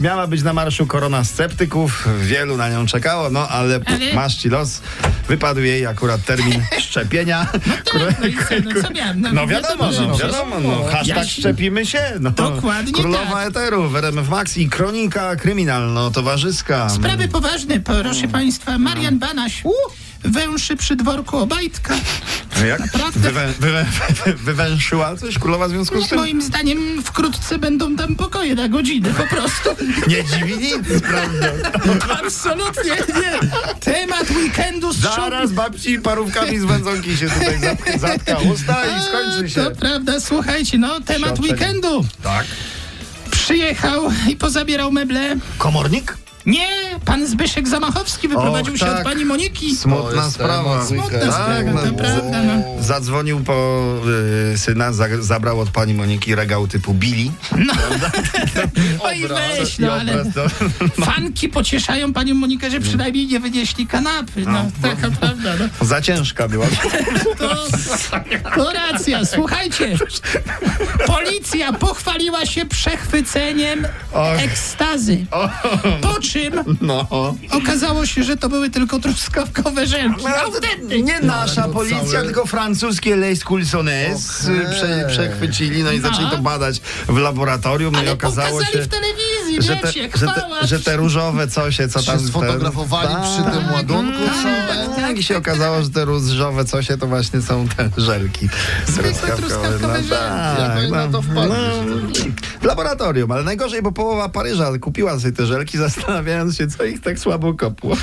Miała być na marszu korona sceptyków, wielu na nią czekało, no ale Ale- maszci los. Wypadł jej akurat termin szczepienia. Tak, no i co, no co miałem? No wiadomo, że no, przecież- wiadomo, no, hashtag Ja się- szczepimy się. No. Dokładnie Królowa tak. Eteru w RMF Max i kronika kryminalno-towarzyska. Sprawy poważne, proszę państwa. Marian Banaś węszy przy dworku Obajtka. No Jak? Wywę, wywę, wywęszyła coś królowa w związku z tym? Moim zdaniem wkrótce będą tam pokoje na godzinę, po prostu. Nie dziwi nic, prawda? Absolutnie nie. Temat weekendu z Zaraz babci parówkami z wędzonki się tutaj zap- zatka usta i skończy się. To prawda, słuchajcie, no temat Siostrzeń. weekendu. Tak. Przyjechał i pozabierał meble. Komornik? Nie, pan Zbyszek Zamachowski wyprowadził Och, się tak. od pani Moniki. Smutna To jest sprawa. temat Smutna Tak, sprawa, no, to prawda. No. Zadzwonił po y, syna, za, zabrał od pani Moniki regał typu Billy. Oj, weź, I no ale obraz do... fanki pocieszają panią Monikę, że przynajmniej nie wynieśli kanapy. No, taka prawda. No. Za ciężka była. To, to racja, słuchajcie. Policja pochwaliła się przechwyceniem Och. ekstazy. Po czym No. okazało się, że to były tylko truskawkowe No, żelki. Autentyk. Nie No, nasza policja, cały- tylko francuskie Les Coulsonnes Okej. prze, przechwycili, no i No. zaczęli to badać w laboratorium, no i Ale okazało pokazali się, w telewizji, że wiecie, te, że, chwała. te, że te różowe coś, co Się tam... te- sfotografowali przy tym ładunku. tak. co? Tak, i się okazało, że te różowe coś to właśnie są te żelki. truskawkowe żelki. tak, Jak oni na to wpadli, że w laboratorium, ale najgorzej, bo połowa Paryża kupiła sobie te żelki, zastanawiając się, co ich tak słabo kopło.